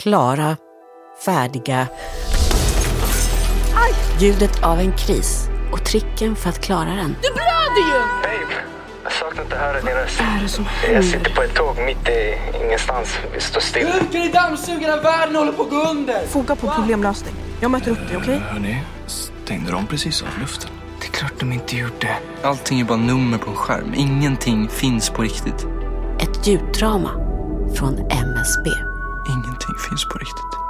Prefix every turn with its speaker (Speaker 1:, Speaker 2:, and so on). Speaker 1: klara, färdiga. Ljudet av en kris och tricken för att klara den.
Speaker 2: Babe, jag saknar inte att höra din röst.
Speaker 3: är det som
Speaker 2: Jag sitter på ett tåg mitt i ingenstans. Vi står still.
Speaker 4: Skurken i dammsugarna, världen håller på att gå under!
Speaker 3: Foka på problemlösning. Jag möter upp dig, okej?
Speaker 5: Hörni, stängde de precis av luften?
Speaker 6: Det är klart de inte gjorde. Allting är bara nummer på en skärm. Ingenting finns på riktigt.
Speaker 1: Ett ljuddrama från MSB.
Speaker 6: Ingenting finns på riktigt.